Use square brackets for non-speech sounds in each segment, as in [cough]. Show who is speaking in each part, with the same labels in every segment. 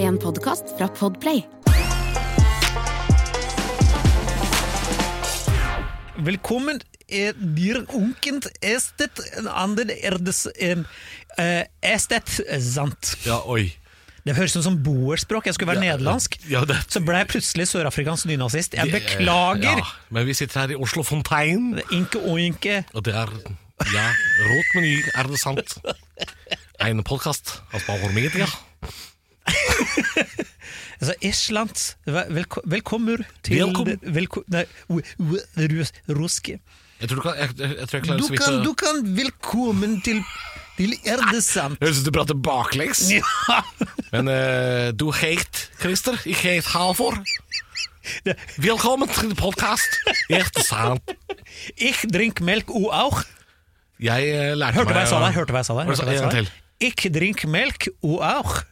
Speaker 1: En podcast fra Podplay
Speaker 2: Velkommen eh, dir unkent estet anden erdes em, eh, estet sant.
Speaker 3: Ja, oi.
Speaker 2: Det høres ut som boerspråk. Jeg skulle være
Speaker 3: Ja,
Speaker 2: nederlandsk.
Speaker 3: ja, det-
Speaker 2: Så ble jeg plutselig sørafrikansk nynazist. Jeg
Speaker 3: Det-
Speaker 2: beklager!
Speaker 3: Ja, men vi sitter her i Oslo Fontein,
Speaker 2: Inke oinke.
Speaker 3: og det er ja, rått meny, er det sant? En podkast av Spavor Media.
Speaker 2: Altså, Island Vel- velko- Velkommer til
Speaker 3: Velkom-
Speaker 2: velko, Nei, u- u- rus, ruske.
Speaker 3: Jeg tror du kan, jeg, jeg, jeg tror jeg klarer
Speaker 2: Du
Speaker 3: å
Speaker 2: kan, du
Speaker 3: switche.
Speaker 2: kan velkommen til, til
Speaker 3: [laughs]
Speaker 2: Erdesand.
Speaker 3: Høres ut som du prater baklengs.
Speaker 2: Ja,
Speaker 3: Men eh, du heit Christer, jeg heit Halvor.
Speaker 2: Det-
Speaker 3: Velkommen til podkast. Helt sant.
Speaker 2: ich drink melk og auch.
Speaker 3: Jeg eh, lærte
Speaker 2: Hørte
Speaker 3: meg
Speaker 2: hva jeg sa der? Hørte hva jeg sa der?
Speaker 3: Hva du sa?
Speaker 2: Hørte hva jeg sa
Speaker 3: En
Speaker 2: der?
Speaker 3: gang til.
Speaker 2: Ich drink melk og auch.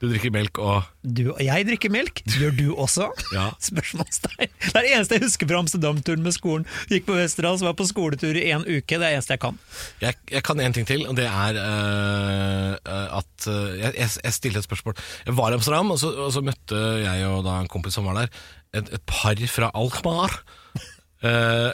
Speaker 3: Du drikker melk og
Speaker 2: Du og jeg drikker melk, gjør du også?
Speaker 3: Ja.
Speaker 2: [laughs] Spørsmålstegn. Det er det eneste jeg husker fra Amsterdam-turen med skolen. Gikk på Westerdals, var på skoletur i en uke. Det er det eneste jeg kan.
Speaker 3: Jeg, jeg kan en ting til, og det er øh, øh, at øh, jeg, jeg- jeg stilte et spørsmål. Jeg var i Amsterdam, og så, og så møtte jeg og da en kompis som var der, et, et par fra Alkmaar. Eh,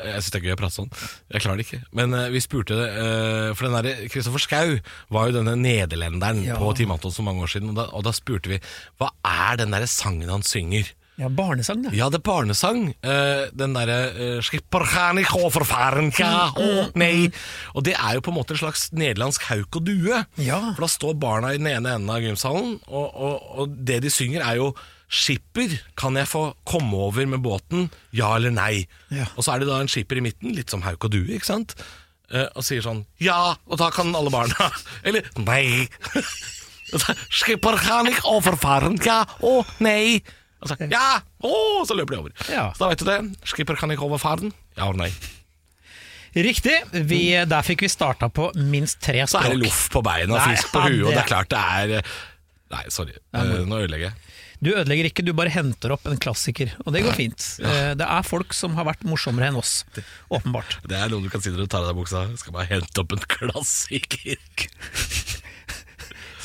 Speaker 3: jeg syns det er gøy å prate sånn. Jeg klarer det ikke. Men eh, vi spurte eh, For den der Kristoffer Schau var jo denne nederlenderen
Speaker 2: Ja.
Speaker 3: på Timatos for mange år siden. Og da, og da spurte vi hva er den der sangen han synger?
Speaker 2: Ja, barnesang, da.
Speaker 3: Ja, det er barnesang. Eh, den derre uh, 'Skipper kan ikke overfaren, ja, å, nei'. Og det er jo på en måte en slags nederlandsk hauk og due.
Speaker 2: Ja.
Speaker 3: For da står barna i den ene enden av gymsalen, og, og, og det de synger er jo 'Skipper, kan jeg få komme over med båten? Ja eller nei?'
Speaker 2: Ja.
Speaker 3: Og så er det da en skipper i midten, litt som hauk og due, ikke sant? Eh, og sier sånn 'Ja!' Og da kan alle barna [laughs] Eller 'Nei'. Skipper kan ikke overfaren, ja, oh, å, nei. Og så, ja, å, så løper de over.
Speaker 2: Ja.
Speaker 3: Så da vet du det. Skipper kan ikke overfaren, ja og nei.
Speaker 2: Riktig. Vi, der fikk vi starta på minst tre
Speaker 3: Så er det
Speaker 2: språk.
Speaker 3: loff på beina og
Speaker 2: Nei,
Speaker 3: fisk på
Speaker 2: ja,
Speaker 3: huet, og
Speaker 2: det-
Speaker 3: det er klart det er eh, Nei, sorry. Eh, Nå ødelegger jeg.
Speaker 2: Du ødelegger ikke, du bare henter opp en klassiker. Og det går fint. Eh, Det er folk som har vært morsommere enn oss. Åpenbart.
Speaker 3: Det er noe du kan si når du tar av deg buksa. Skal bare hente opp en klassiker.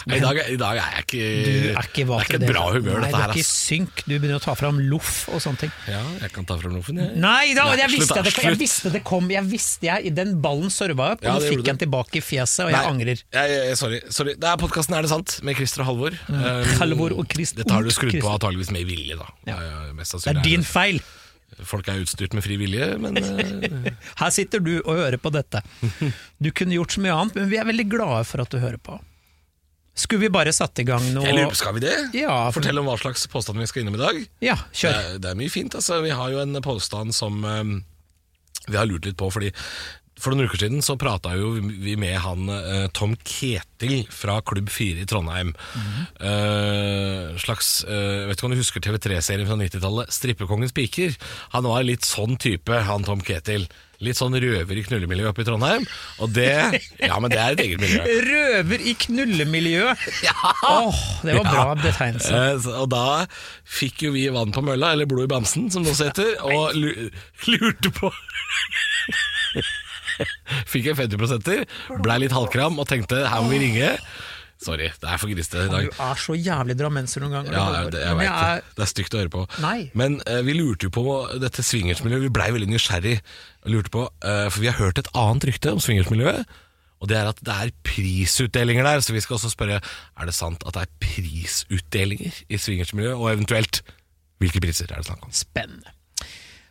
Speaker 3: Nei, I dag, I dag er jeg ikke
Speaker 2: Du er ikke
Speaker 3: Det
Speaker 2: hva
Speaker 3: er ikke
Speaker 2: til
Speaker 3: et bra humør,
Speaker 2: Nei,
Speaker 3: dette
Speaker 2: Du er
Speaker 3: her.
Speaker 2: ikke i
Speaker 3: ass.
Speaker 2: synk. Du begynner å ta fram loff og sånne ting.
Speaker 3: Ja, jeg kan ta fram loffen, jeg.
Speaker 2: Nei da,
Speaker 3: Nei,
Speaker 2: jeg,
Speaker 3: slutt
Speaker 2: visste
Speaker 3: da,
Speaker 2: at det, kom- jeg
Speaker 3: slutt.
Speaker 2: visste det kom. Jeg visste jeg, Den ballen serva jeg opp, og
Speaker 3: Ja,
Speaker 2: nå
Speaker 3: det gjorde
Speaker 2: fikk jeg den tilbake i fjeset, og jeg
Speaker 3: Nei,
Speaker 2: angrer.
Speaker 3: Jeg, jeg, sorry, sorry. Det er podkasten Er det sant? med Christer og Halvor. Um,
Speaker 2: Mm. Halvor og Christ-
Speaker 3: Dette har du
Speaker 2: og
Speaker 3: skrudd
Speaker 2: Christer.
Speaker 3: på antageligvis med vilje, da.
Speaker 2: Ja.
Speaker 3: Eh, mest
Speaker 2: Det
Speaker 3: sannsynlig
Speaker 2: er din feil.
Speaker 3: Folk er utstyrt med fri vilje,
Speaker 2: [laughs]
Speaker 3: men eh,
Speaker 2: Her sitter du og hører på
Speaker 3: [laughs]
Speaker 2: dette. Du kunne gjort så mye annet, men vi er veldig glade for at du hører på. Skulle vi bare satt i gang
Speaker 3: jeg
Speaker 2: noe
Speaker 3: lurer på, skal vi det?
Speaker 2: Ja, for-
Speaker 3: Fortell om hva slags påstand vi skal innom i dag.
Speaker 2: Ja,
Speaker 3: Det
Speaker 2: kjør.
Speaker 3: er, det er mye fint. altså Vi har jo en påstand som eh, vi har lurt litt på, fordi for noen uker siden så prata jo vi med han eh, Tom Ketil fra Klubb 4 i Trondheim. Eh, slags eh, Vet ikke om du husker TV3-serien fra 90-tallet, 'Strippekongens piker'? Han var litt sånn type, han Tom Ketil. Litt sånn røver i knullemiljøet oppe i Trondheim. Og det Ja, men det er et eget miljø.
Speaker 2: Røver i knullemiljøet!
Speaker 3: [laughs] Ja.
Speaker 2: Åh, det var bra
Speaker 3: Ja.
Speaker 2: betegnelse.
Speaker 3: Eh, så- Og da fikk jo vi vann på mølla, eller blod i bamsen, som det også heter, og lu- lurte på [laughs] Fikk en 50 blei litt halvkram og tenkte her må vi ringe. Sorry, det er for grisete i dag.
Speaker 2: Du er så jævlig drammenser noen ganger.
Speaker 3: Ja,
Speaker 2: Halvor.
Speaker 3: det, jeg
Speaker 2: Men
Speaker 3: vet
Speaker 2: jeg er-
Speaker 3: det. Det er stygt å høre på.
Speaker 2: Nei.
Speaker 3: Men eh, vi lurte jo på dette swingersmiljøet. Vi blei veldig nysgjerrig. og Lurte på, eh, for vi har hørt et annet rykte om swingersmiljøet. Og det er at det er prisutdelinger der. Så vi skal også spørre er det sant at det er prisutdelinger i swingersmiljøet. Og eventuelt hvilke priser er det snakk om.
Speaker 2: Spennende.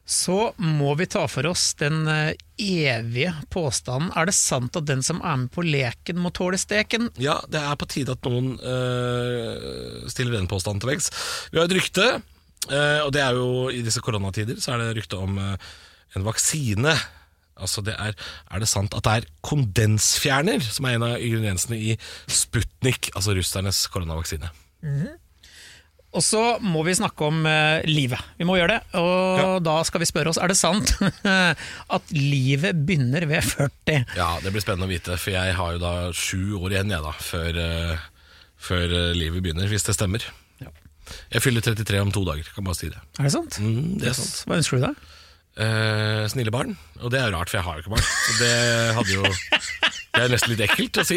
Speaker 2: Så må vi ta for oss den eh, evige påstanden Er det sant at den som er med på leken, må tåle steken?
Speaker 3: Ja, det er på tide at noen øh, stiller den påstanden til veggs. Vi har et rykte, øh, og det er jo i disse koronatider, så er det rykte om øh, en vaksine. Altså det er, er det sant at det er kondensfjerner som er en av ingrediensene i Sputnik, altså russernes koronavaksine?
Speaker 2: Og så må vi snakke om eh, livet. Vi må gjøre det. Og da skal vi spørre oss er det sant [laughs] at livet begynner ved 40.
Speaker 3: Ja, det blir spennende å vite, for jeg har jo da sju år igjen jeg da, før, øh, før øh, livet begynner, hvis det stemmer.
Speaker 2: Ja.
Speaker 3: Jeg fyller 33 om to dager, kan bare si det.
Speaker 2: Er det sant?
Speaker 3: Mm, det er sant.
Speaker 2: Hva ønsker du deg?
Speaker 3: Eh, snille barn. Og det er jo rart, for jeg har jo ikke barn. Så det hadde jo Det er nesten litt ekkelt å si.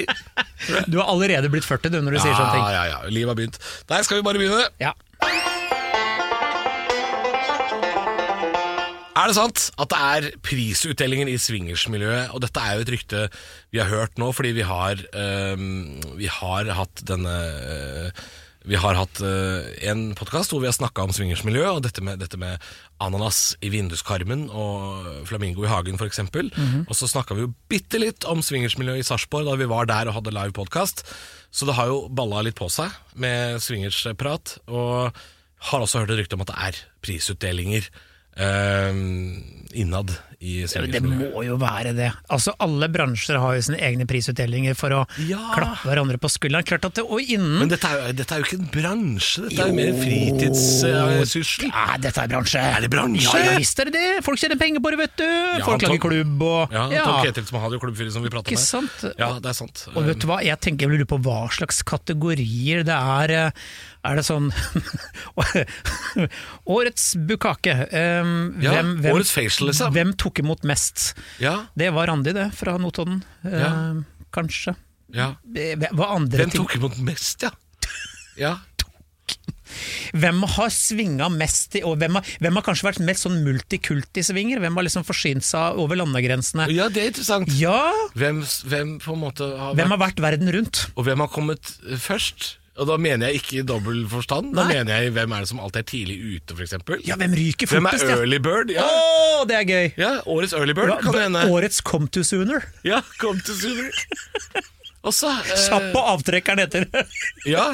Speaker 2: Du har allerede blitt 40 du, når du sier
Speaker 3: Ja,
Speaker 2: sånne ting.
Speaker 3: ja, ja. Livet har begynt. Nei, skal vi bare begynne?
Speaker 2: Ja.
Speaker 3: Er det sant at det er prisutdelinger i swingersmiljøet? Og dette er jo et rykte vi har hørt nå, fordi vi har, øhm, vi har hatt denne øh, Vi har hatt øh, en podkast hvor vi har snakka om swingersmiljø, og dette med, dette med ananas i vinduskarmen og flamingo i hagen, f.eks. eksempel Og så snakka vi jo bitte litt om swingersmiljøet i Sarpsborg da vi var der og hadde live podkast. Så det har jo balla litt på seg med swingersprat. Og har også hørt et rykte om at det er prisutdelinger eh, innad i
Speaker 2: Men Det
Speaker 3: Sverige.
Speaker 2: må jo være det. Altså, alle bransjer har jo sine egne prisutdelinger for å
Speaker 3: Ja.
Speaker 2: klappe hverandre på skulderen. Klart at det, Og innen
Speaker 3: Men dette er, jo, dette er jo ikke en bransje, dette er jo
Speaker 2: Jo.
Speaker 3: mer fritidssyssel.
Speaker 2: ja, dette er bransje.
Speaker 3: Er det bransje?
Speaker 2: Ja, ja visst er det det! Folk tjener penger på det, vet du! Folk
Speaker 3: Tom-
Speaker 2: lager klubb og
Speaker 3: ja, Tom Ketil som hadde jo klubbfyr som vi prata
Speaker 2: Ikke
Speaker 3: med.
Speaker 2: sant?
Speaker 3: Ja, det er sant.
Speaker 2: Og vet du hva, jeg tenker jeg lurer på hva slags kategorier det er. eh, Er det sånn [laughs] Årets bukake. em,
Speaker 3: Ja, årets facial, liksom.
Speaker 2: Hvem tok imot mest?
Speaker 3: Ja,
Speaker 2: Det var Randi, det, fra Notodden. Eh,
Speaker 3: Ja.
Speaker 2: Kanskje. Eh,
Speaker 3: ja.
Speaker 2: Hva andre
Speaker 3: Hvem
Speaker 2: ting
Speaker 3: tok imot mest, ja? Ja,
Speaker 2: Hvem har svinga mest i og hvem har, hvem har kanskje vært mest sånn multikulti-svinger? Hvem har liksom forsynt seg over landegrensene?
Speaker 3: ja det er interessant.
Speaker 2: Ja!
Speaker 3: Hvem, hvem på en måte har vært
Speaker 2: Hvem har vært verden rundt?
Speaker 3: Og hvem har kommet eh, først? Og da mener jeg ikke i dobbel forstand. Da
Speaker 2: Nei.
Speaker 3: mener jeg hvem er det som alltid er tidlig ute, f.eks.
Speaker 2: Ja, hvem ryker
Speaker 3: Hvem
Speaker 2: fortest?
Speaker 3: er
Speaker 2: ja?
Speaker 3: early bird? Ja,
Speaker 2: Å, det er gøy!
Speaker 3: ja årets early bird, kan det hende.
Speaker 2: Årets come to sooner.
Speaker 3: Ja, kom til Suri. Og så eh,
Speaker 2: Kjapp på avtrekkeren etter. [laughs]
Speaker 3: Ja,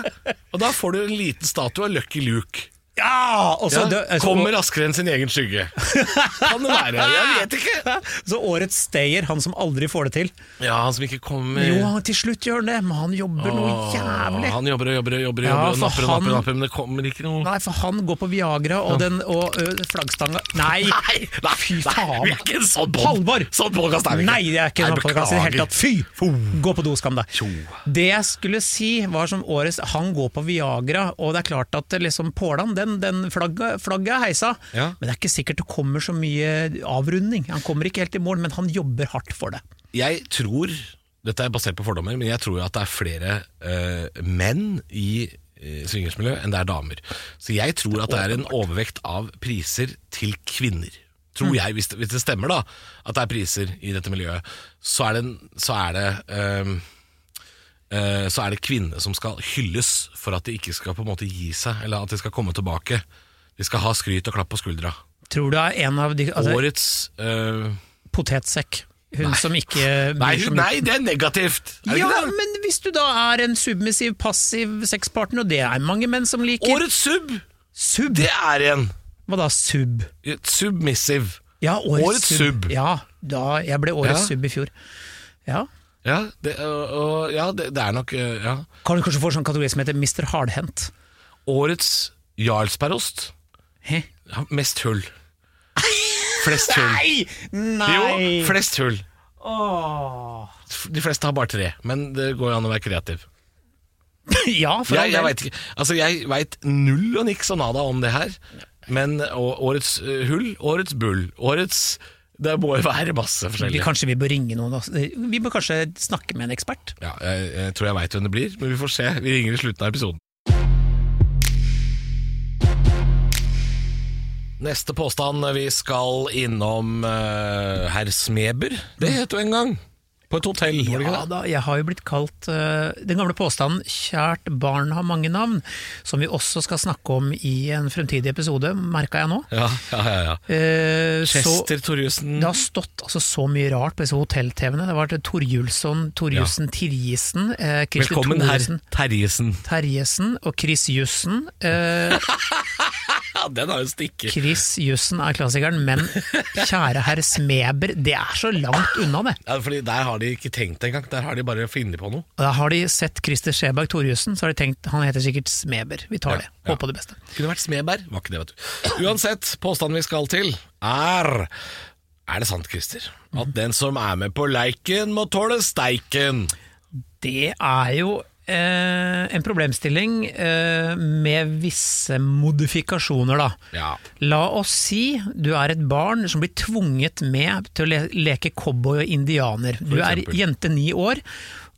Speaker 3: og da får du en liten statue av Lucky Luke.
Speaker 2: ja! Og så,
Speaker 3: Ja,
Speaker 2: dø- så,
Speaker 3: kommer raskere enn sin egen
Speaker 2: [laughs]
Speaker 3: skygge. Kan det være? Jeg vet ikke.
Speaker 2: så årets stayer, han som aldri får det til.
Speaker 3: Ja, han som ikke kommer
Speaker 2: Jo, han- til slutt gjør han det, men han jobber noe
Speaker 3: Åh,
Speaker 2: jævlig.
Speaker 3: Han jobber og jobber og jobber, og
Speaker 2: Ja,
Speaker 3: jobber og
Speaker 2: for
Speaker 3: napper og napper, og
Speaker 2: han-
Speaker 3: napper, men det kommer ikke noe
Speaker 2: Nei, for han går på Viagra og, den, og ø, flaggstanga Nei! Fy faen!
Speaker 3: vi er ikke en sånn pod-
Speaker 2: Halvor!
Speaker 3: Sånn podcast er vi ikke.
Speaker 2: Nei, det er ikke
Speaker 3: Nei,
Speaker 2: sånn podcast i det hele
Speaker 3: beklager.
Speaker 2: tatt. Fy! Gå på do, skam deg.
Speaker 3: Tjo.
Speaker 2: Det jeg skulle si, var som årets Han går på Viagra, og det er klart at liksom Pålan, den, den flagget, flagget er heisa,
Speaker 3: Ja.
Speaker 2: men det er ikke sikkert det kommer så mye avrunding. Han kommer ikke helt i mål, men han jobber hardt for det.
Speaker 3: Jeg tror, dette er basert på fordommer, men jeg tror jo at det er flere eh, menn i uh, swingersmiljø enn det er damer. Så jeg tror at det er en overvekt av priser til kvinner. Tror jeg, hvis det, hvis det stemmer da, at det er priser i dette miljøet, så er det, en- så er det eh, eh, så er det kvinnene som skal hylles for at de ikke skal på en måte gi seg, eller at de skal komme tilbake. De skal ha skryt og klapp på skuldra.
Speaker 2: Tror du er en av de altså,
Speaker 3: Årets eh,
Speaker 2: Potetsekk. Hun som ikke
Speaker 3: nei,
Speaker 2: bryr seg om-
Speaker 3: nei, det er negativt! Er det
Speaker 2: ja,
Speaker 3: ikke det?
Speaker 2: men hvis du da er en submissiv, passiv sexpartner, og det er mange menn som liker
Speaker 3: Årets sub,
Speaker 2: Sub?
Speaker 3: det er en
Speaker 2: Hva da, sub?
Speaker 3: submissiv.
Speaker 2: Ja, årets,
Speaker 3: Årets sub.
Speaker 2: Ja, da, jeg ble årets
Speaker 3: Ja.
Speaker 2: sub i fjor. Ja.
Speaker 3: Ja, det, og, og, ja, det, det er nok øh, ja.
Speaker 2: Kan du kanskje få en sånn kategori som heter Mr. Hardhendt?
Speaker 3: Årets jarlsbergost.
Speaker 2: Hæ?
Speaker 3: Ja, mest hull. Flest hull.
Speaker 2: Nei! Nei!
Speaker 3: Jo, flest hull.
Speaker 2: Åh. [laughs]
Speaker 3: De fleste har bare tre, men det går jo an å være kreativ.
Speaker 2: Ja, for
Speaker 3: Jeg, jeg
Speaker 2: all del.
Speaker 3: veit ikke Altså, jeg veit null og niks og nada om det her, men å- årets øh, hull, årets bull, årets Det må jo være masse
Speaker 2: Vi,
Speaker 3: forskjellige.
Speaker 2: kanskje vi bør ringe noen? også. Vi bør kanskje snakke med en ekspert?
Speaker 3: Ja, jeg, jeg tror jeg veit hvem det blir, men vi får se. Vi ringer i slutten av episoden. Neste påstand vi skal innom eh, herr Smeber. Det het jo en gang. På et hotell, var det ikke
Speaker 2: Ja
Speaker 3: det?
Speaker 2: da, jeg har jo blitt kalt eh, den gamle påstanden 'kjært barn har mange navn', som vi også skal snakke om i en fremtidig episode, merka jeg nå.
Speaker 3: Ja, ja, ja, ja.
Speaker 2: Eh, så-
Speaker 3: Chester Torjussen.
Speaker 2: Det har stått altså, så mye rart på disse hotell-TV-ene. Det har vært Torjulsson, Torjussen, Tirjesen, eh, Kristel
Speaker 3: Velkommen, herr
Speaker 2: Thoresen,
Speaker 3: Terjesen.
Speaker 2: Terjesen og Chris Jussen.
Speaker 3: [laughs]
Speaker 2: Eh,
Speaker 3: Ja, den har jo stikket.
Speaker 2: Chris Jussen er klassikeren, men kjære herr Smeber, det er så langt unna, det.
Speaker 3: Ja, fordi Der har de ikke tenkt engang. Der har de bare funnet på noe.
Speaker 2: Og Da har de sett Christer Skjeberg Torjussen, så har de tenkt han heter sikkert Smeber. Vi tar det.
Speaker 3: ja.
Speaker 2: Håper det beste.
Speaker 3: Kunne vært Smeberg. Var ikke det, vet du. Uansett, påstanden vi skal til er Er det sant, Christer, at den som er med på leiken, må tåle steiken?
Speaker 2: Det er jo eh, eh, en problemstilling eh, med visse modifikasjoner, da.
Speaker 3: Ja.
Speaker 2: La oss si du er et barn som blir tvunget med til å le leke cowboy og indianer. Du
Speaker 3: For
Speaker 2: er
Speaker 3: eksempel.
Speaker 2: jente ni år,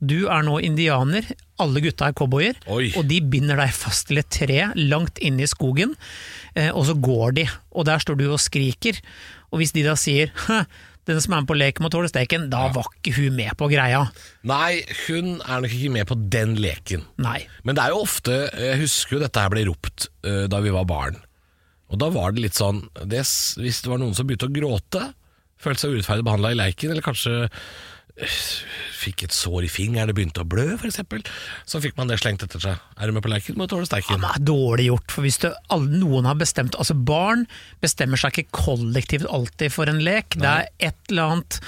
Speaker 2: du er nå indianer, alle gutta er cowboyer.
Speaker 3: Oi.
Speaker 2: Og de binder deg fast til et tre langt inne i skogen, eh, og så går de. Og der står du og skriker. Og hvis de da sier «Hæ, 'den som er med på leken må tåle steken', da var ikke hun med på greia.
Speaker 3: Nei, hun er nok ikke med på den leken.
Speaker 2: Nei.
Speaker 3: Men det er jo ofte Jeg husker jo dette her ble ropt eh, da vi var barn. Og da var det litt sånn det, s- Hvis det var noen som begynte å gråte, følte seg urettferdig behandla i leiken, eller kanskje eh, fikk et sår i fingeren og begynte å blø, f.eks., så fikk man det slengt etter seg. Er du med på leiken, må du tåle steiken.
Speaker 2: Det er dårlig gjort, for hvis det, alle, noen har bestemt Altså Barn bestemmer seg ikke kollektivt alltid for en lek. Det er et eller annet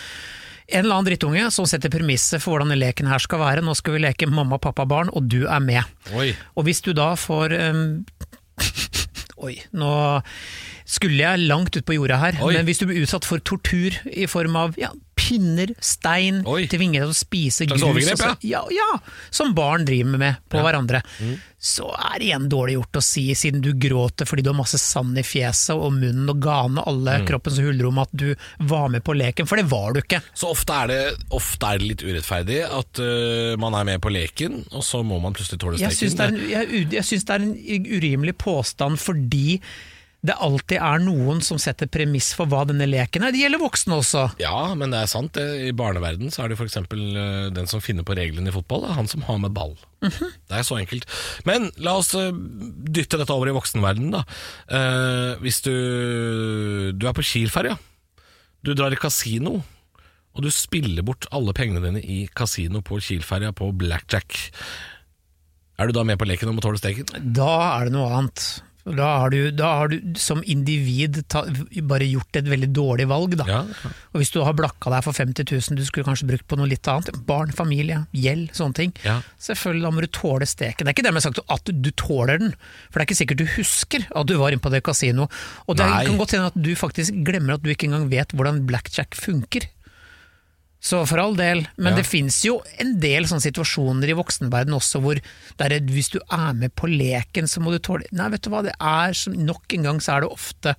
Speaker 2: en eller annen drittunge som setter premisset for hvordan leken her skal være. Nå skal vi leke mamma, pappa, barn, og du er med.
Speaker 3: Oi.
Speaker 2: Og hvis du da får em, [laughs] Oi, nå skulle jeg langt ut på jorda her,
Speaker 3: Oi.
Speaker 2: men hvis du blir utsatt for tortur i form av ja, pinner, stein,
Speaker 3: Oi.
Speaker 2: tvinger deg til å spise
Speaker 3: Slags
Speaker 2: grus
Speaker 3: overgrep,
Speaker 2: og så- ja, ja, Som barn driver med på hverandre.
Speaker 3: Mm.
Speaker 2: Så er det igjen dårlig gjort å si, siden du gråter fordi du har masse sand i fjeset og munnen og gane alle
Speaker 3: Mm.
Speaker 2: kroppens hulrom, at du var med på leken, for det var du ikke.
Speaker 3: Så ofte er, det, ofte er det litt urettferdig at eh, man er med på leken, og så må man plutselig tåle
Speaker 2: Jeg syns
Speaker 3: steiken.
Speaker 2: det, er en- jeg u- jeg syns det er en urimelig påstand fordi det alltid er noen som setter premiss for hva denne leken er. Det gjelder voksne også.
Speaker 3: Ja, men det er sant. det. I barneverden så er det f.eks. den som finner på reglene i fotball, det er han som har med ball.
Speaker 2: Mhm.
Speaker 3: Det er så enkelt. Men la oss eh, dytte dette over i voksenverdenen, da. Eh, hvis du, du er på Kiel-ferja, du drar i kasino, og du spiller bort alle pengene dine i kasino på Kiel-ferja på blackjack. Er du da med på leken om å tåle steken?
Speaker 2: Da er det noe annet. Da har du, da har du som individ ta, bare gjort et veldig dårlig valg. Da.
Speaker 3: Ja.
Speaker 2: Og hvis du har blakka deg for 50 000 du skulle kanskje brukt på noe litt annet, barn, familie, gjeld, sånne ting,
Speaker 3: Ja.
Speaker 2: selvfølgelig da må du tåle steken. Det er ikke dermed sagt at du tåler den, for det er ikke sikkert du husker at du var inne på det kasino. Og det
Speaker 3: Nei.
Speaker 2: kan godt hende at du faktisk glemmer at du ikke engang vet hvordan blackjack funker. Så for all del, men
Speaker 3: Ja.
Speaker 2: det fins jo en del sånne situasjoner i voksenverden også hvor det er, et- hvis du er med på leken, så må du tåle Nei, vet du hva, det er som Nok en gang så er det ofte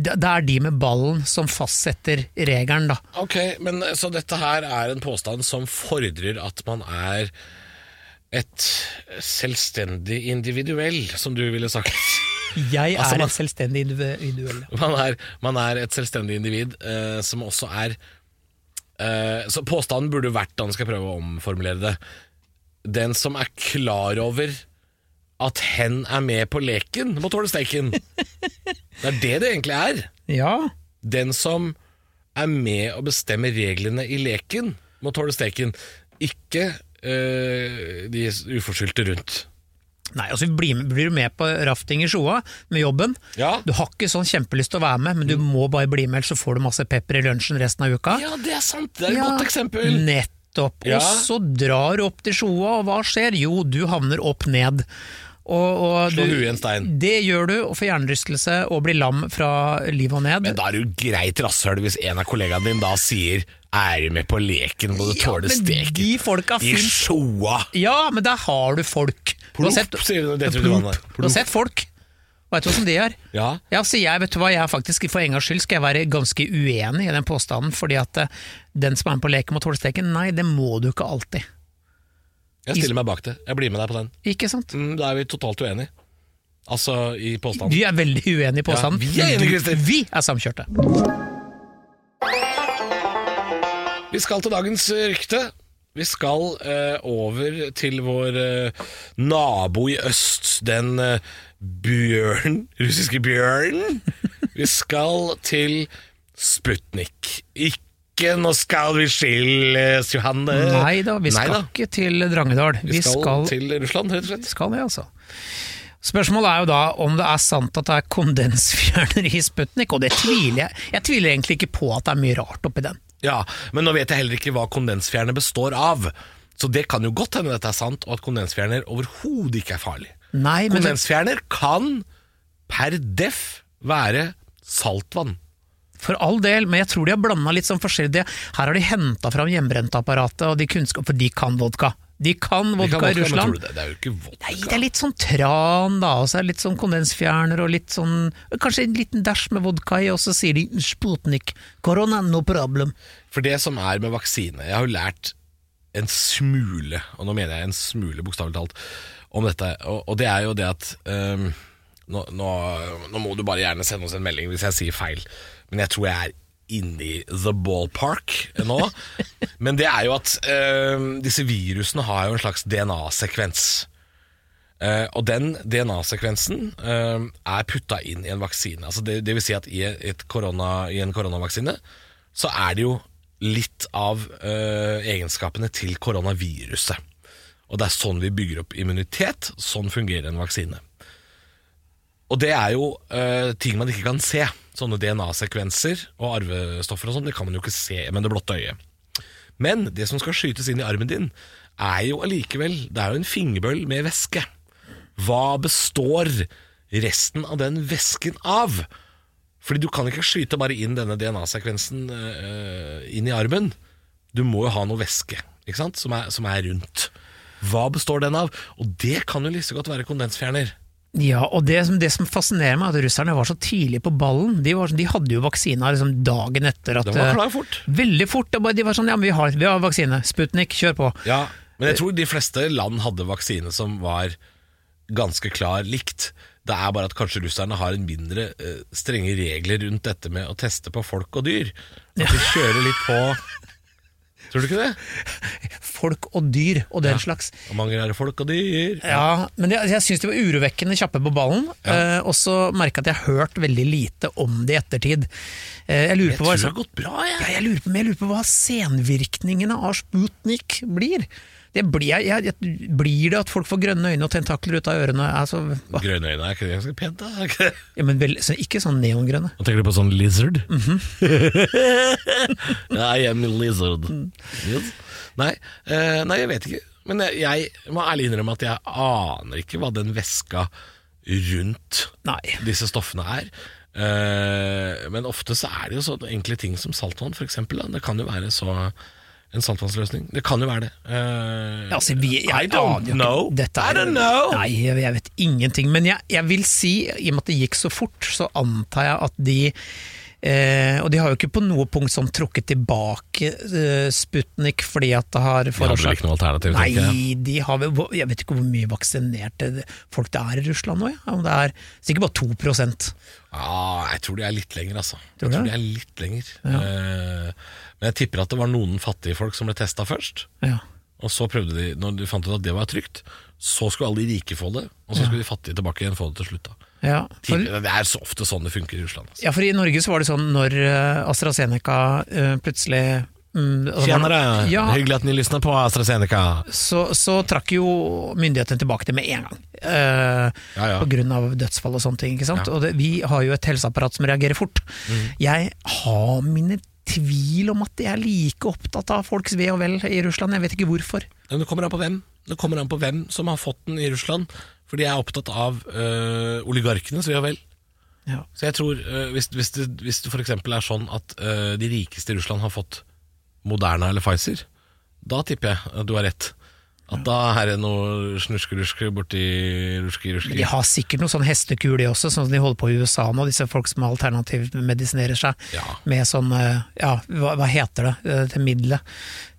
Speaker 2: Det det er de med ballen som fastsetter regelen, da.
Speaker 3: Ok, men eh, så dette her er en påstand som fordrer at man er et selvstendig individuell, som du ville sagt. [laughs]
Speaker 2: Jeg
Speaker 3: Altså,
Speaker 2: er
Speaker 3: man-
Speaker 2: en selvstendig indiv- individuell.
Speaker 3: Man er, man er et selvstendig individ eh, som også er eh, Så påstanden burde vært, da skal jeg prøve å omformulere det, den som er klar over at hen er med på leken, må tåle steiken. Det er det det egentlig er.
Speaker 2: Ja,
Speaker 3: Den som er med og bestemmer reglene i leken, må tåle steken. Ikke eh, de uforskyldte rundt.
Speaker 2: Nei, altså blir, blir du med på rafting i Sjoa med jobben.
Speaker 3: Ja. Mm.
Speaker 2: Du har ikke sånn kjempelyst til å være med, men du må bare bli med, ellers så får du masse pepper i lunsjen resten av uka.
Speaker 3: Ja, det er sant! Det er et
Speaker 2: Ja,
Speaker 3: godt eksempel.
Speaker 2: Nettopp.
Speaker 3: Ja.
Speaker 2: Og så drar du opp til Sjoa, og hva skjer? Jo, du havner opp ned. Og, og
Speaker 3: Slå
Speaker 2: du-
Speaker 3: huet i en stein.
Speaker 2: Det gjør du, og får hjernerystelse og blir lam fra livet og ned.
Speaker 3: Men da er det jo greit rasshøl hvis en av kollegaene dine da sier 'er du med på leken, må du
Speaker 2: Ja,
Speaker 3: tåle
Speaker 2: men
Speaker 3: steken'.
Speaker 2: de folka
Speaker 3: I
Speaker 2: fins.
Speaker 3: sjoa!
Speaker 2: Ja, men der har du folk. Du har
Speaker 3: Plump,
Speaker 2: sett-
Speaker 3: sier du, det tror jeg
Speaker 2: Plump.
Speaker 3: det var.
Speaker 2: Du har sett folk. Veit du hvordan de er?
Speaker 3: Ja.
Speaker 2: Ja, så jeg, vet du hva, jeg er faktisk, For en gangs skyld skal jeg være ganske uenig i den påstanden. fordi at eh, den som er med på leken, må tåle steken. Nei, det må du ikke alltid.
Speaker 3: Jeg stiller meg bak det. Jeg blir med deg på den.
Speaker 2: Ikke sant?
Speaker 3: Mm, Da er vi totalt uenige. Altså i påstanden.
Speaker 2: Vi er veldig uenige i påstanden.
Speaker 3: vi er enige, Christer.
Speaker 2: Vi er samkjørte.
Speaker 3: Vi skal til dagens rykte. Vi skal eh, over til vår eh, nabo i øst, den eh, bjørnen, russiske bjørnen. Vi skal til Sputnik. Ikke 'nå skal vi skilles', Johanne.
Speaker 2: Nei da, vi skal
Speaker 3: Neida.
Speaker 2: ikke til Drangedal.
Speaker 3: Eh, Vi, skal til Russland, rett og slett.
Speaker 2: skal det, altså. Spørsmålet er jo da om det er sant at det er kondensfjerner i Sputnik, og det tviler jeg Jeg tviler egentlig ikke på at det er mye rart oppi den.
Speaker 3: Ja, Men nå vet jeg heller ikke hva kondensfjerner består av. Så det kan jo godt hende dette er sant, og at kondensfjerner overhodet ikke er farlig.
Speaker 2: Nei, men
Speaker 3: Kondensfjerner kan per def være saltvann.
Speaker 2: for all del, men jeg tror de har blanda litt sånn forskjellig. Det- Her har de henta fram hjemmebrentapparatet og de kunnskap, for de kan vodka. De kan
Speaker 3: Vi kan
Speaker 2: vodka i
Speaker 3: vodka, men tror
Speaker 2: Russland.
Speaker 3: du Det, det er jo ikke vodka.
Speaker 2: Nei, det er litt sånn tran, da. Og så er det litt sånn kondensfjerner og litt sånn Kanskje en liten dæsj med vodka i, og så sier de Sputnik. Korona, no problem.
Speaker 3: For det som er med vaksine Jeg har jo lært en smule, og nå mener jeg en smule bokstavelig talt, om dette. Og, og det er jo det at øhm, nå, nå, nå må du bare gjerne sende oss en melding hvis jeg sier feil, men jeg tror jeg er inni the ballpark nå.
Speaker 2: [laughs]
Speaker 3: Men det er jo at øhm, disse virusene har jo en slags DNA-sekvens. Eh, og den DNA-sekvensen eh, er putta inn i en vaksine. Altså det, det vil si at i, et korona, i en koronavaksine så er det jo litt av eh, egenskapene til koronaviruset. Og det er sånn vi bygger opp immunitet. Sånn fungerer en vaksine. Og det er jo eh, ting man ikke kan se. Sånne DNA-sekvenser og arvestoffer og sånn, det kan man jo ikke se med det blotte øyet. Men det som skal skytes inn i armen din, er jo allikevel Det er jo en fingerbøll med væske. Hva består resten av den væsken av? Fordi du kan ikke skyte bare inn denne DNA-sekvensen eh, inn i armen. Du må jo ha noe væske ikke sant? Som, er, som er rundt. Hva består den av? Og det kan jo like så godt være kondensfjerner.
Speaker 2: Ja, og det som, det som fascinerer meg, er at russerne var så tidlig på ballen. De, var, sånn- de hadde jo vaksina liksom dagen etter at
Speaker 3: Den var
Speaker 2: eh,
Speaker 3: klar fort.
Speaker 2: Veldig fort. det bare- De var sånn ja, men vi har, vi har vaksine. Sputnik, kjør på.
Speaker 3: Ja, men jeg tror de fleste land hadde vaksine som var ganske klar likt. Det er bare at kanskje russerne har en mindre eh, strenge regler rundt dette med å teste på folk og dyr. At de kjører litt på Tror du ikke det?
Speaker 2: Folk og dyr og den slags.
Speaker 3: Hvor mange er det folk og dyr?
Speaker 2: Ja, men jeg, jeg syns de var urovekkende kjappe på ballen. Eh, og så merka jeg at jeg har hørt veldig lite om det i ettertid. Eh, jeg lurer
Speaker 3: Jeg
Speaker 2: på hva
Speaker 3: tror det har gått bra, jeg.
Speaker 2: Ja, jeg lurer på, men jeg lurer på hva senvirkningene av Sputnik blir. Det blir, jeg, jeg, blir det at folk får grønne øyne og tentakler ut av ørene? Altså, hva?
Speaker 3: Grønne øyne, er ikke det ganske pent? da? Er ikke det?
Speaker 2: Ja, men vel, så ikke sånn neongrønne.
Speaker 3: Nå tenker du på sånn lizard?
Speaker 2: Mhm.
Speaker 3: [laughs] I am a lizard.
Speaker 2: Mm.
Speaker 3: Yes. Nei, eh, nei, jeg vet ikke. Men jeg, jeg må ærlig innrømme at jeg aner ikke hva den veska rundt
Speaker 2: Nei.
Speaker 3: disse stoffene er. Eh, men ofte så er det jo sånne enkle ting som saltvann, for eksempel. Da. Det kan jo være så en saltvannsløsning. Det kan jo være det. Eh,
Speaker 2: Altså, vi, jeg,
Speaker 3: I don't
Speaker 2: aner jo ikke.
Speaker 3: know.
Speaker 2: Dette
Speaker 3: I
Speaker 2: er,
Speaker 3: don't know.
Speaker 2: Nei, jeg, jeg vet ingenting. Men jeg, jeg vil si, i og med at det gikk så fort, så antar jeg at de Eh, og de har jo ikke på noe punkt sånn trukket tilbake eh, Sputnik fordi at det har
Speaker 3: Vi hadde vel
Speaker 2: forårsaket
Speaker 3: ikke noe alternativ, tenker jeg.
Speaker 2: Nei, de har vel hvor- Jeg vet ikke hvor mye vaksinerte folk det er i Russland nå, ja. Om det er sikkert bare 2
Speaker 3: Ja, Ah, jeg tror de er litt lenger, altså.
Speaker 2: Tror
Speaker 3: jeg
Speaker 2: du
Speaker 3: tror
Speaker 2: det?
Speaker 3: de er litt lenger. Eh, men jeg tipper at det var noen fattige folk som ble testa først.
Speaker 2: ja.
Speaker 3: Og så prøvde de, når de fant ut at det var trygt, så skulle alle de rike få det. Og så skulle de fattige tilbake igjen få det til slutt. da
Speaker 2: Ja, for,
Speaker 3: Tipper- Det er så ofte sånn det funker i Russland. Altså.
Speaker 2: ja, for i Norge så var det sånn når eh, AstraZeneca eh, plutselig mm, altså,
Speaker 3: Tjenere,
Speaker 2: Ja,
Speaker 3: hyggelig at ni lysner på AstraZeneca.
Speaker 2: så, så trakk jo myndighetene tilbake det med en gang. Eh,
Speaker 3: Ja, ja.
Speaker 2: På grunn av dødsfall og sånne ting. Ikke sant? Og det, vi har jo et helseapparat som reagerer fort.
Speaker 3: Mm.
Speaker 2: Jeg har mine tvil om at de er like opptatt av folks ve og vel i Russland. Jeg vet ikke hvorfor.
Speaker 3: Men det kommer an på hvem. Det kommer an på hvem som har fått den i Russland. For de er opptatt av øh, oligarkene, så vi har vel.
Speaker 2: Ja.
Speaker 3: Så jeg tror, øh, hvis, hvis, det, hvis det for eksempel er sånn at øh, de rikeste i Russland har fått Moderna eller Pfizer, da tipper jeg at du har rett. At da er det noe snuskeruske borti ruski-ruski.
Speaker 2: De har sikkert noen sånn hestekul de også, sånn som de holder på i USA nå, disse folk som alternativmedisinerer seg
Speaker 3: Ja.
Speaker 2: med sånn, eh, ja, hva, hva heter det, eh, det middelet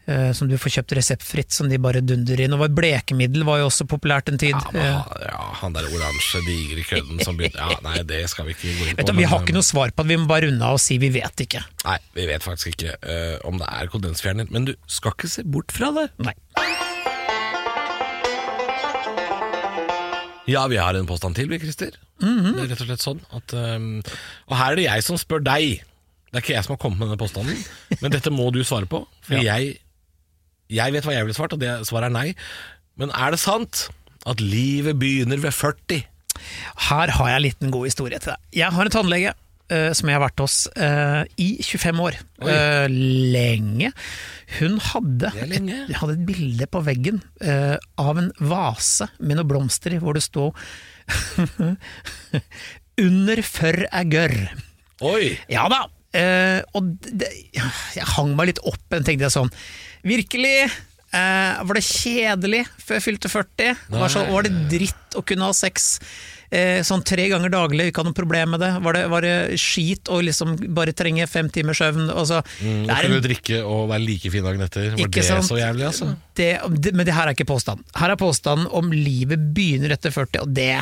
Speaker 2: eh, som du får kjøpt reseptfritt, som de bare dunder inn. Og var- blekemiddel var jo også populært en tid.
Speaker 3: Ja, men,
Speaker 2: Eh,
Speaker 3: han- ja, han der oransje, digre kødden som begynte Ja, nei, det skal vi ikke gå inn på.
Speaker 2: Vet du, vi har
Speaker 3: men,
Speaker 2: ikke noe svar på det, vi må bare runde av og si vi vet ikke.
Speaker 3: Nei, vi vet faktisk ikke øh, om det er kondensfjerner. Men du skal ikke se bort fra det.
Speaker 2: Nei.
Speaker 3: Ja, vi har en påstand til, vi, Christer. Det er rett og slett sånn at um, Og her er det jeg som spør deg. Det er ikke jeg som har kommet med denne [laughs] påstanden, men dette må du svare på. For jeg, jeg vet hva jeg ville svart, og det svaret er nei. Men er det sant at livet begynner ved 40?
Speaker 2: Her har jeg en liten god historie til deg. Jeg har en tannlege eh, som jeg har vært hos eh, i 25 år.
Speaker 3: Oi.
Speaker 2: Eh, lenge. Hun hadde,
Speaker 3: Det er lenge.
Speaker 2: Et, hadde et bilde på veggen eh, av en vase med noen blomster i, hvor det stod [laughs] Under før er gørr.
Speaker 3: Oi!
Speaker 2: Ja da. eh, og det, jeg hang meg litt opp og tenkte jeg sånn Virkelig Eh, var det kjedelig før jeg fylte 40? Var, så, var det dritt å kunne ha sex eh, sånn tre ganger daglig, ikke ha noe problem med det? Var det, var det skit å liksom bare trenge fem timers søvn? Altså,
Speaker 3: Mm,
Speaker 2: det
Speaker 3: og
Speaker 2: er
Speaker 3: kunne
Speaker 2: en-
Speaker 3: du drikke og være like fin dagen etter? Var
Speaker 2: Ikke
Speaker 3: det
Speaker 2: sant?
Speaker 3: så jævlig, altså?
Speaker 2: det, det, men det her er ikke påstand. Her er påstanden om livet begynner etter 40, og det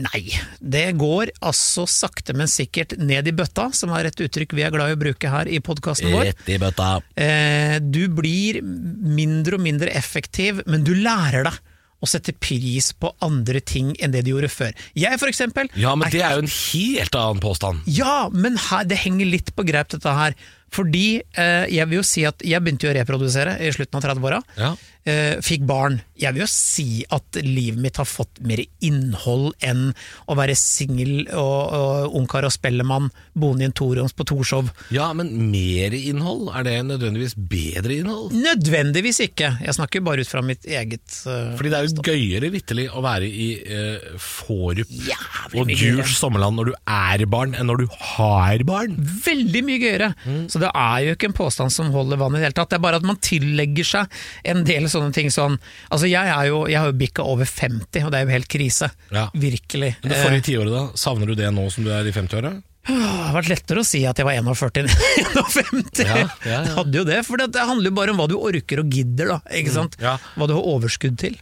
Speaker 2: Nei. Det går altså sakte, men sikkert ned i bøtta, som er et uttrykk vi er glad i å bruke her i podkasten vår.
Speaker 3: i bøtta.
Speaker 2: Eh, du blir mindre og mindre effektiv, men du lærer deg å sette pris på andre ting enn det du gjorde før. Jeg, for eksempel
Speaker 3: Ja, men det er jo en helt annen påstand.
Speaker 2: ja, men her, det henger litt på greip dette her. Fordi eh, jeg vil jo si at jeg begynte jo å reprodusere i slutten av 30-åra.
Speaker 3: Ja.
Speaker 2: Eh, fikk barn. Jeg vil jo si at livet mitt har fått mer innhold enn å være singel og, og ungkar og spellemann boende i en toroms på Torshov.
Speaker 3: Ja, men mer innhold? Er det nødvendigvis bedre innhold?
Speaker 2: Nødvendigvis ikke! Jeg snakker bare ut fra mitt eget eh,
Speaker 3: Fordi det er jo gøyere vitterlig å være i eh, Forup
Speaker 2: Jævlig
Speaker 3: og
Speaker 2: mye gøyere.
Speaker 3: Djurs sommerland når du er barn, enn når du har barn.
Speaker 2: Veldig mye gøyere!
Speaker 3: Mm.
Speaker 2: Så det er jo ikke en påstand som holder vann i det hele tatt. Det er bare at man tillegger seg en del sånne ting sånn Altså, jeg, er jo, jeg har jo bikka over 50, og det er jo helt krise.
Speaker 3: Ja.
Speaker 2: Virkelig.
Speaker 3: Men det
Speaker 2: Eh.
Speaker 3: forrige tiåret, da? Savner du det nå som du er i 50-åra?
Speaker 2: Åh, Det har vært lettere å si at jeg var 41 enn [laughs] 51.
Speaker 3: Ja, ja, ja.
Speaker 2: Det hadde jo det, for det det handler jo bare om hva du orker og gidder, da. Ikke sant?
Speaker 3: Mm, ja.
Speaker 2: Hva du har overskudd til.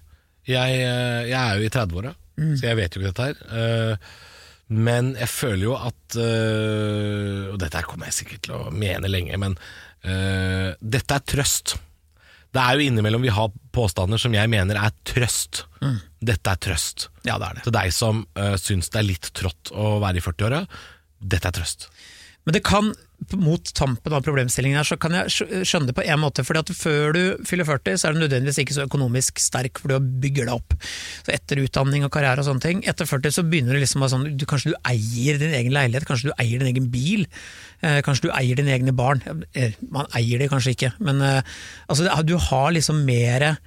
Speaker 3: Jeg, eh, jeg er jo i 30-åra,
Speaker 2: Mm.
Speaker 3: så jeg vet jo ikke dette her. Eh, Men jeg føler jo at eh, Og dette her kommer jeg sikkert til å mene lenge, men eh, dette er trøst. Det er jo innimellom vi har påstander som jeg mener er trøst. Dette er trøst.
Speaker 2: Mm. Ja, det er
Speaker 3: Til deg som uh, syns det er litt trått å være i 40-åra, dette er trøst.
Speaker 2: Men det kan, mot tampen av problemstillingen her, så kan jeg skj- skjønne det på en måte. fordi at før du fyller 40, så er du nødvendigvis ikke så økonomisk sterk, for du bygger deg opp. Så etter utdanning og karriere og sånne ting. Etter 40 så begynner det liksom å være sånn du, Kanskje du eier din egen leilighet, kanskje du eier din egen bil. Eh, kanskje du eier dine egne barn. Eh, Man eier det kanskje ikke, men eh, altså, det- du har liksom mere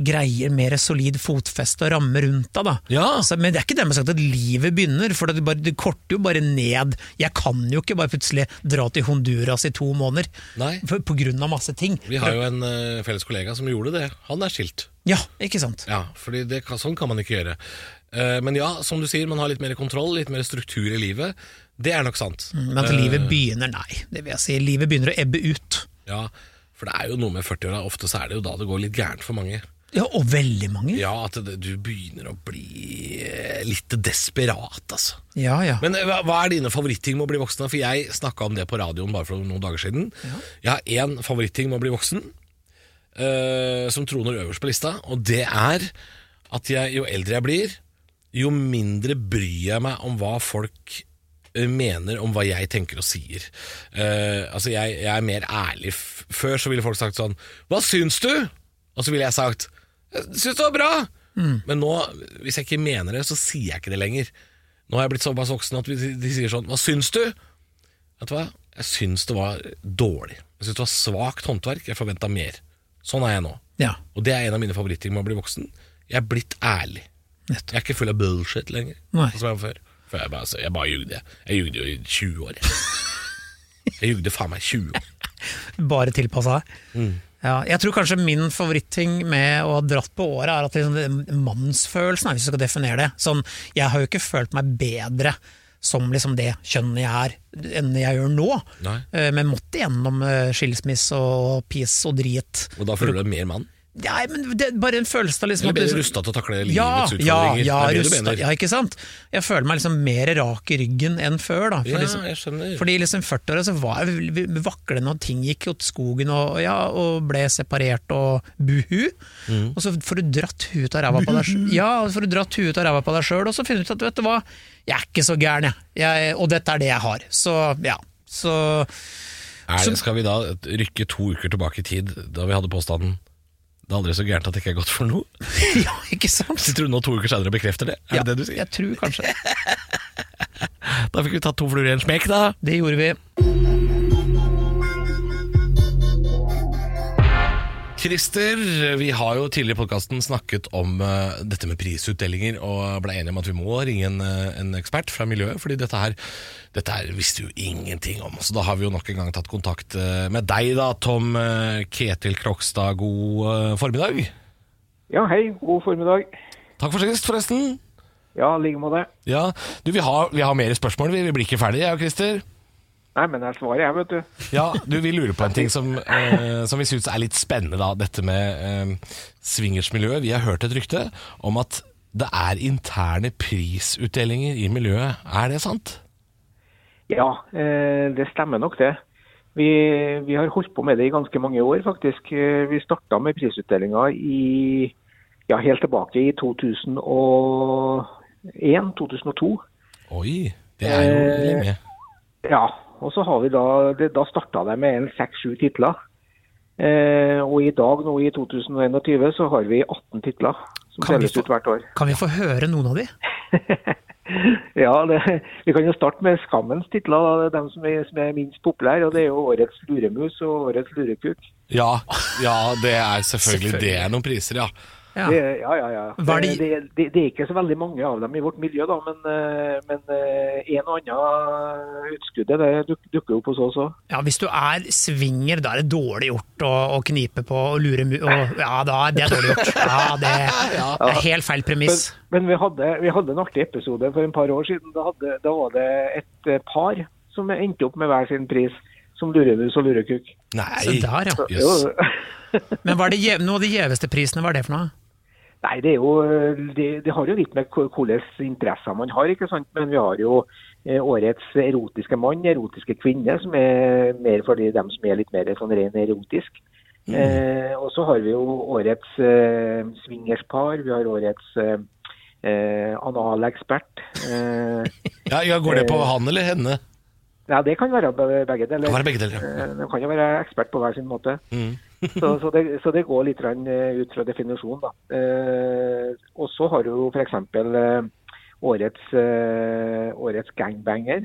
Speaker 2: greier mer solid fotfeste og ramme rundt deg. da.
Speaker 3: Ja.
Speaker 2: Så, men det er ikke dermed sagt at livet begynner, for det, bare, det korter jo bare ned. Jeg kan jo ikke bare plutselig dra til Honduras i to måneder
Speaker 3: Nei.
Speaker 2: for, på grunn av masse ting.
Speaker 3: Vi har jo en eh, felles kollega som gjorde det. Han er skilt.
Speaker 2: Ja, ikke sant?
Speaker 3: Ja, fordi det, kan- sånn kan man ikke gjøre. Eh, Men ja, som du sier, man har litt mer kontroll, litt mer struktur i livet. Det er nok sant.
Speaker 2: Men at
Speaker 3: Eh.
Speaker 2: livet begynner, nei. Det vil jeg si. Livet begynner å ebbe ut.
Speaker 3: Ja, for det er jo noe med 40-åra, ofte så er det jo da det går litt gærent for mange.
Speaker 2: Ja, og veldig mange. Ja,
Speaker 3: Ja, at det, du begynner å bli eh, litt desperat, altså.
Speaker 2: ja.
Speaker 3: Men eh, hva, hva er dine favoritting med å bli voksen? da? For jeg snakka om det på radioen bare for noen dager siden. Jeg har én favoritting med å bli voksen, eh, som troner øverst på lista, og det er at jeg, jo eldre jeg blir, jo mindre bryr jeg meg om hva folk eh, mener om hva jeg tenker og sier. Eh, altså, jeg, jeg er mer ærlig. F før så ville folk sagt sånn Hva syns du? Og så ville jeg sagt Jeg syns det var bra! Men nå, hvis jeg ikke mener det, så sier jeg ikke det lenger. Nå har jeg blitt såpass voksen at de, de sier sånn Hva syns du? Vet du hva? Jeg syns det var dårlig. Jeg syns det var svakt håndverk. Jeg forventa mer. Sånn er jeg nå.
Speaker 2: ja.
Speaker 3: Og det er en av mine favorittting med å bli voksen. Jeg er blitt ærlig.
Speaker 2: Nettopp.
Speaker 3: Jeg er ikke full av bullshit lenger.
Speaker 2: Nei.
Speaker 3: sånn Som jeg var før. For jeg bare, altså, jeg bare jugde. jeg. Jeg jugde jo i 20 år. jeg. Jeg jugde faen meg 20 år.
Speaker 2: Bare tilpassa deg.
Speaker 3: Mm.
Speaker 2: Ja, jeg tror kanskje min favoritting med å ha dratt på året, er at liksom det- mannsfølelsen, er, hvis du skal definere det sånn, Jeg har jo ikke følt meg bedre som liksom det kjønnet jeg er, enn jeg gjør nå.
Speaker 3: Nei.
Speaker 2: Eh, Men måtte gjennom eh, skilsmisse og pis og drit.
Speaker 3: Og da føler du deg mer mann?
Speaker 2: Nei, men det er bare en følelse av liksom
Speaker 3: Eller
Speaker 2: at du-
Speaker 3: bedre rusta til å takle livets
Speaker 2: ja, ja,
Speaker 3: utfordringer?
Speaker 2: ja,
Speaker 3: det er det du
Speaker 2: rusta,
Speaker 3: mener.
Speaker 2: ja, ikke sant? Jeg føler meg liksom mer rak i ryggen enn før. da. For
Speaker 3: Ja,
Speaker 2: liksom,
Speaker 3: jeg skjønner.
Speaker 2: fordi liksom 40-åra så var jeg v- v- vaklende, og ting gikk åt skogen, og, ja, og ble separert og buhu.
Speaker 3: Mm.
Speaker 2: Og så får du dratt huet av ræva på deg sjøl, ja, og så får du dratt huet av ræva på deg selv, og så finner du ut at vet du hva, jeg er ikke så gæren, jeg. jeg. Og dette er det jeg har. Så ja.
Speaker 3: [laughs]
Speaker 2: Så
Speaker 3: Er det, skal vi da rykke to uker tilbake i tid, da vi hadde påstanden det er aldri så gærent at det ikke er godt for noe?
Speaker 2: Ja, ikke sant?
Speaker 3: Sitter du nå to uker senere og bekrefter det? Er
Speaker 2: Ja,
Speaker 3: det det du sier?
Speaker 2: Jeg tror kanskje det.
Speaker 3: Da fikk vi tatt to fluer i en smekk, da.
Speaker 2: Det gjorde vi.
Speaker 3: Christer, vi har jo tidligere i podkasten snakket om eh, dette med prisutdelinger, og ble enige om at vi må ringe en, eh, en ekspert fra miljøet, fordi dette her, dette her visste vi jo ingenting om. Så da har vi jo nok en gang tatt kontakt eh, med deg, da, Tom eh, Ketil Krokstad. God eh, formiddag.
Speaker 1: Ja, hei. God formiddag.
Speaker 3: Takk for sist, forresten.
Speaker 1: Ja, i like måte.
Speaker 3: Ja, du, vi har, vi har mer spørsmål. Vi, vi blir ikke ferdige, jeg og Christer.
Speaker 1: Nei, men det er svaret, jeg, vet du.
Speaker 3: Ja, du, vi lurer på en ting som, eh, som vi syns er litt spennende, da. Dette med eh, swingersmiljøet. Vi har hørt et rykte om at det er interne prisutdelinger i miljøet. Er det sant?
Speaker 1: Ja, eh, det stemmer nok, det. Vi, vi har holdt på med det i ganske mange år, faktisk. Eh, Vi starta med prisutdelinga i ja, helt tilbake i 2001-2002.
Speaker 3: Oi, det er jo
Speaker 1: Eh,
Speaker 3: lenge.
Speaker 1: Ja, og så har vi da, det, da starta det med en seks-sju titler. Eh, og i dag, nå i 2021, så har vi 18 titler som
Speaker 2: Kan vi
Speaker 1: deles
Speaker 2: få-
Speaker 1: ut hvert år.
Speaker 2: Kan vi få høre noen av de?
Speaker 1: Ja, det, vi kan jo starte med skammens titler. Da. Det er dem som er, som er minst populære. og Det er jo Årets luremus og Årets lurekuk.
Speaker 3: Ja, ja, det er selvfølgelig, det er noen priser, ja.
Speaker 2: Ja.
Speaker 1: Det, er- ja, ja, ja.
Speaker 2: Hva er de-
Speaker 1: Det, det, det, det er ikke så veldig mange av dem i vårt miljø, da, men, eh, men eh, en og annen utskuddet det duk, dukker opp hos oss òg.
Speaker 2: Ja, Hvis du er swinger, da er det dårlig gjort å, å knipe på og lure mu... Og, ja, da er det dårlig gjort. Ja, det, det er helt feil
Speaker 1: Men,
Speaker 2: premiss.
Speaker 1: men vi, hadde, vi hadde en artig episode for en par år siden. Da, hadde, da var det et eh, par som endte opp med hver sin pris, som luremus og lurekuk.
Speaker 2: Så
Speaker 3: Nei,
Speaker 2: der, ja.
Speaker 1: [laughs]
Speaker 3: jøss.
Speaker 1: Jo,
Speaker 2: Men hva er det, gjev- noe av de gjeveste prisene, hva er det for noe?
Speaker 1: Nei, det, er jo, eh, det, det har jo litt med hva- hvilke interesser man har. ikke sant? Men vi har jo eh, årets erotiske mann, erotiske kvinne, som er mer for de, dem som er litt mer sånn ren erotisk. Eh, og så har vi jo årets eh, swingerspar, vi har årets eh, eh, analekspert. Eh,
Speaker 3: Ja, ja, går det på han eller henne?
Speaker 1: ja, det kan være be- begge deler.
Speaker 3: Kan være begge deler, ja. Mm.
Speaker 1: Eh, De kan jo være ekspert på hver sin måte. så, så, det, så det går litt grann, eh, ut fra definisjonen. da. Eh, og så har du f.eks. Eh, årets, eh, årets gangbanger.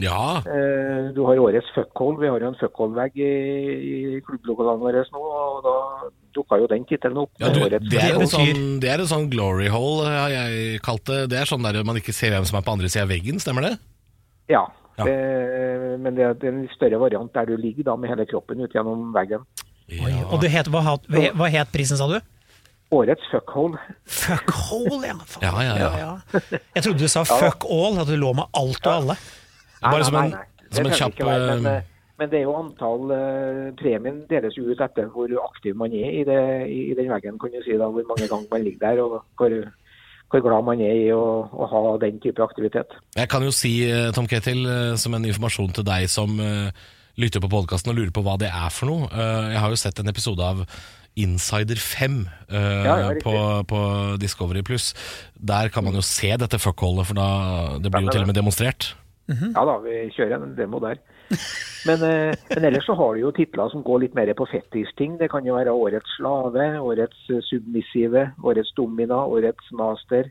Speaker 3: Ja,
Speaker 1: Eh, du har årets fuckhole. Vi har jo en fuckhole-vegg i, i klubblokalene våre nå, og da dukka jo den tittelen opp.
Speaker 3: ja du,
Speaker 1: med årets
Speaker 3: det, er
Speaker 1: fuckhole.
Speaker 3: en
Speaker 2: betyr-
Speaker 3: sånn, det er en sånn glory hole, har jeg kalt det. Det er sånn der man ikke ser hvem som er på andre siden av veggen, stemmer det?
Speaker 1: Ja.
Speaker 3: Ja.
Speaker 1: Eh, men det er en større variant der du ligger da med hele kroppen ut gjennom veggen.
Speaker 2: Oi, og det het, hva, hat- hva- hva het prisen, sa du?
Speaker 1: Årets fuckhole.
Speaker 2: Fuck all, ja. Faen.
Speaker 3: Ja, ja, ja.
Speaker 2: Jeg trodde du sa fuck all, at du lå med alt og alle.
Speaker 3: Bare
Speaker 1: Nei,
Speaker 3: som
Speaker 1: nei,
Speaker 3: en,
Speaker 1: nei, nei. Det
Speaker 3: som en
Speaker 1: trenger
Speaker 3: kjapp
Speaker 1: ikke være, men,
Speaker 3: eh,
Speaker 1: eh, men det er jo antall eh, Premien deles jo ut etter hvor aktiv man er i, det, i, i den veggen, kan du si. da, Hvor mange ganger man ligger der, og hvor, hvor glad man er i å, å ha den type aktivitet.
Speaker 3: Jeg kan jo si, eh, Tom Ketil, eh, som en informasjon til deg som eh, lytter på podkasten og lurer på hva det er for noe. Eh, Jeg har jo sett en episode av Insider 5 eh,
Speaker 1: ja, riktig.
Speaker 3: på, på Discovery Pluss. Der kan man jo se dette fuckholdet, for da det blir jo til og med demonstrert.
Speaker 1: Ja da, vi kjører en demo der. Men, eh, men ellers så har du jo titler som går litt mer på fetisjting. Det kan jo være årets slave, årets eh, submissive, årets domina, årets master.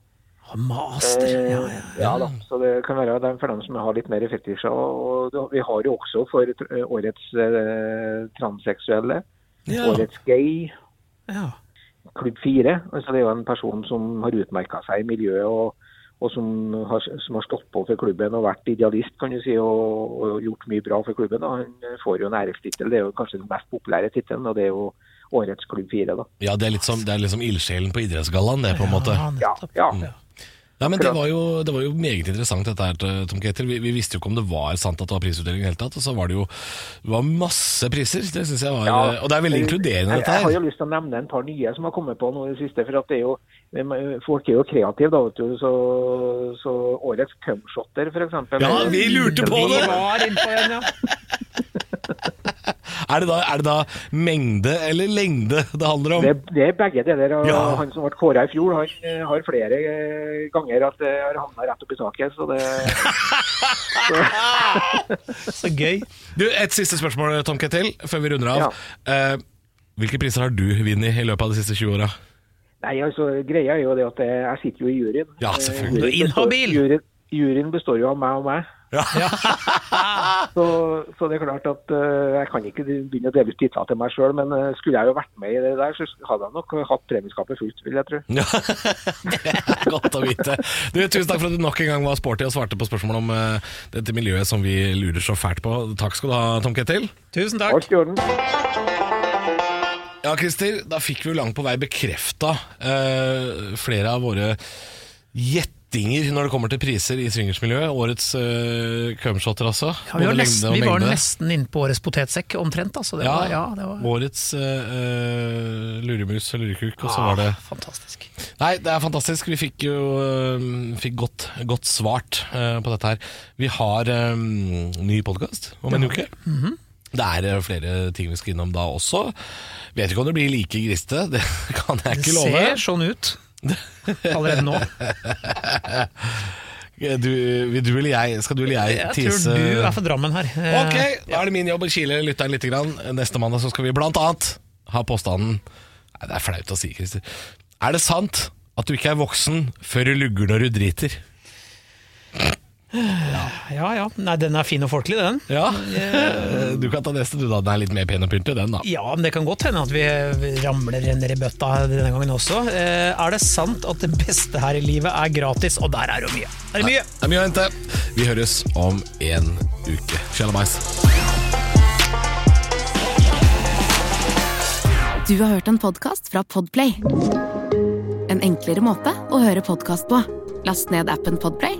Speaker 2: Å, Master.
Speaker 1: Eh,
Speaker 2: Ja, ja.
Speaker 1: ja da, så det kan være dem for dem som har litt mer fetisjer. Og da- vi har jo også for eh, årets eh, transseksuelle,
Speaker 3: Ja.
Speaker 1: årets gay,
Speaker 2: ja.
Speaker 1: klubb fire. Altså, det er jo en person som har utmerka seg i miljøet og, og som, har, som har stått på for klubben og vært idealist kan du si, og, og gjort mye bra for klubben. Da. Han får jo en ærestittel, det er jo kanskje den mest populære tittelen, og det er jo årets klubb fire. da.
Speaker 3: Ja, det er litt som, det er litt som ildsjelen på idrettsgallaen, det, på en måte.
Speaker 2: Ja,
Speaker 1: Ja,
Speaker 2: nettopp. Mm.
Speaker 1: ja.
Speaker 3: Nei, men det var, jo, det var jo meget interessant dette her, eh, Tom Ketil. Vi, vi visste jo ikke om det var sant at det var prisutdeling i det hele tatt, og så var det jo det var masse priser. Det synes jeg var, eh,
Speaker 1: Ja.
Speaker 3: Og det er veldig
Speaker 1: Jeg-
Speaker 3: inkluderende,
Speaker 1: jeg-
Speaker 3: dette
Speaker 1: Jeg har
Speaker 3: her.
Speaker 1: jo lyst til å nevne en par nye som har kommet på nå i det siste. for at det er jo, Folk er jo kreative, da. vet du, Så, så årets cumshotter, f.eks.
Speaker 3: Ja, vi lurte på
Speaker 2: Vi
Speaker 3: det!
Speaker 2: var inn på en, ja.
Speaker 3: Er det, da, er det da mengde eller lengde det handler om?
Speaker 1: Det, det er begge deler. og
Speaker 2: Ja.
Speaker 1: Han som ble kåra i fjor, han eh, har flere eh, ganger at det har havna rett opp i taket. så det...
Speaker 2: Så gøy.
Speaker 3: Du, Et siste spørsmål, Tom Ketil, før vi runder av.
Speaker 1: Ja.
Speaker 3: Eh, hvilke priser har du vunnet i løpet av de siste 20 åra?
Speaker 1: Nei, altså, greia er jo det at jeg, jeg sitter jo i juryen.
Speaker 3: Ja, selvfølgelig.
Speaker 1: Eh, juryen
Speaker 2: Du er inhabil!
Speaker 1: Består, juryen, juryen består jo av meg og meg.
Speaker 3: [laughs]
Speaker 1: Så, så det er klart at eh, jeg kan ikke begynne å dele ut titler til meg sjøl, men eh, skulle jeg jo vært med i det der, så hadde jeg nok hatt premieskapet fullt, vil jeg tro.
Speaker 3: Ja, det er godt å vite. Du, tusen takk for at du nok en gang var sporty og svarte på spørsmål om eh, dette miljøet som vi lurer så fælt på. Takk skal du ha, Tom Ketil.
Speaker 2: Tusen takk.
Speaker 1: Alt i orden.
Speaker 3: Ja, Christer, da fikk vi jo langt på vei bekrefta eh, flere av våre gjettinger når det kommer til priser i swingersmiljøet. Årets uh, cumshotter, altså.
Speaker 2: Ja, vi, var
Speaker 3: Både lengde
Speaker 2: nesten,
Speaker 3: og
Speaker 2: vi var
Speaker 3: mengde.
Speaker 2: nesten inne på årets potetsekk, omtrent. Altså. Det
Speaker 3: Ja,
Speaker 2: var, ja, det var
Speaker 3: Årets eh, luremus og lurekuk, og
Speaker 2: Ah.
Speaker 3: så var det
Speaker 2: fantastisk.
Speaker 3: Nei, det er fantastisk. Vi fikk jo øhm, fikk godt, godt svart øh, på dette her. Vi har øhm, ny podkast om en uke.
Speaker 2: Mhm.
Speaker 3: Det er øh, flere ting vi skal innom da også. Vet ikke om det blir like griste, [laughs] det kan jeg
Speaker 2: Det
Speaker 3: ikke love.
Speaker 2: ser sånn [laughs] ut allerede nå.
Speaker 3: Du, vil du eller jeg, skal du eller jeg,
Speaker 2: Jeg tror
Speaker 3: tise
Speaker 2: du er for Drammen her. Eh,
Speaker 3: Ok, da er det min jobb å kile lytteren litt. Grann. Neste mandag så skal vi blant annet ha påstanden Nei, Det er flaut å si, Christer. Er det sant at du ikke er voksen før du lugger når du driter?
Speaker 2: Ja ja. Nei, den er fin og folkelig, den.
Speaker 3: Ja, du kan ta neste du da, den er litt mer pen og pyntet den da
Speaker 2: Ja, men det kan godt hende at vi ramler ned i bøtta denne gangen også. Eh, Er det sant at det beste her i livet er gratis? Og der er det jo mye. Der er det mye.
Speaker 3: Det er mye å hente Vi høres om en uke Sjalabais
Speaker 4: Du har hørt en podcast fra Podplay En enklere måte å høre podcast på Last ned appen Podplay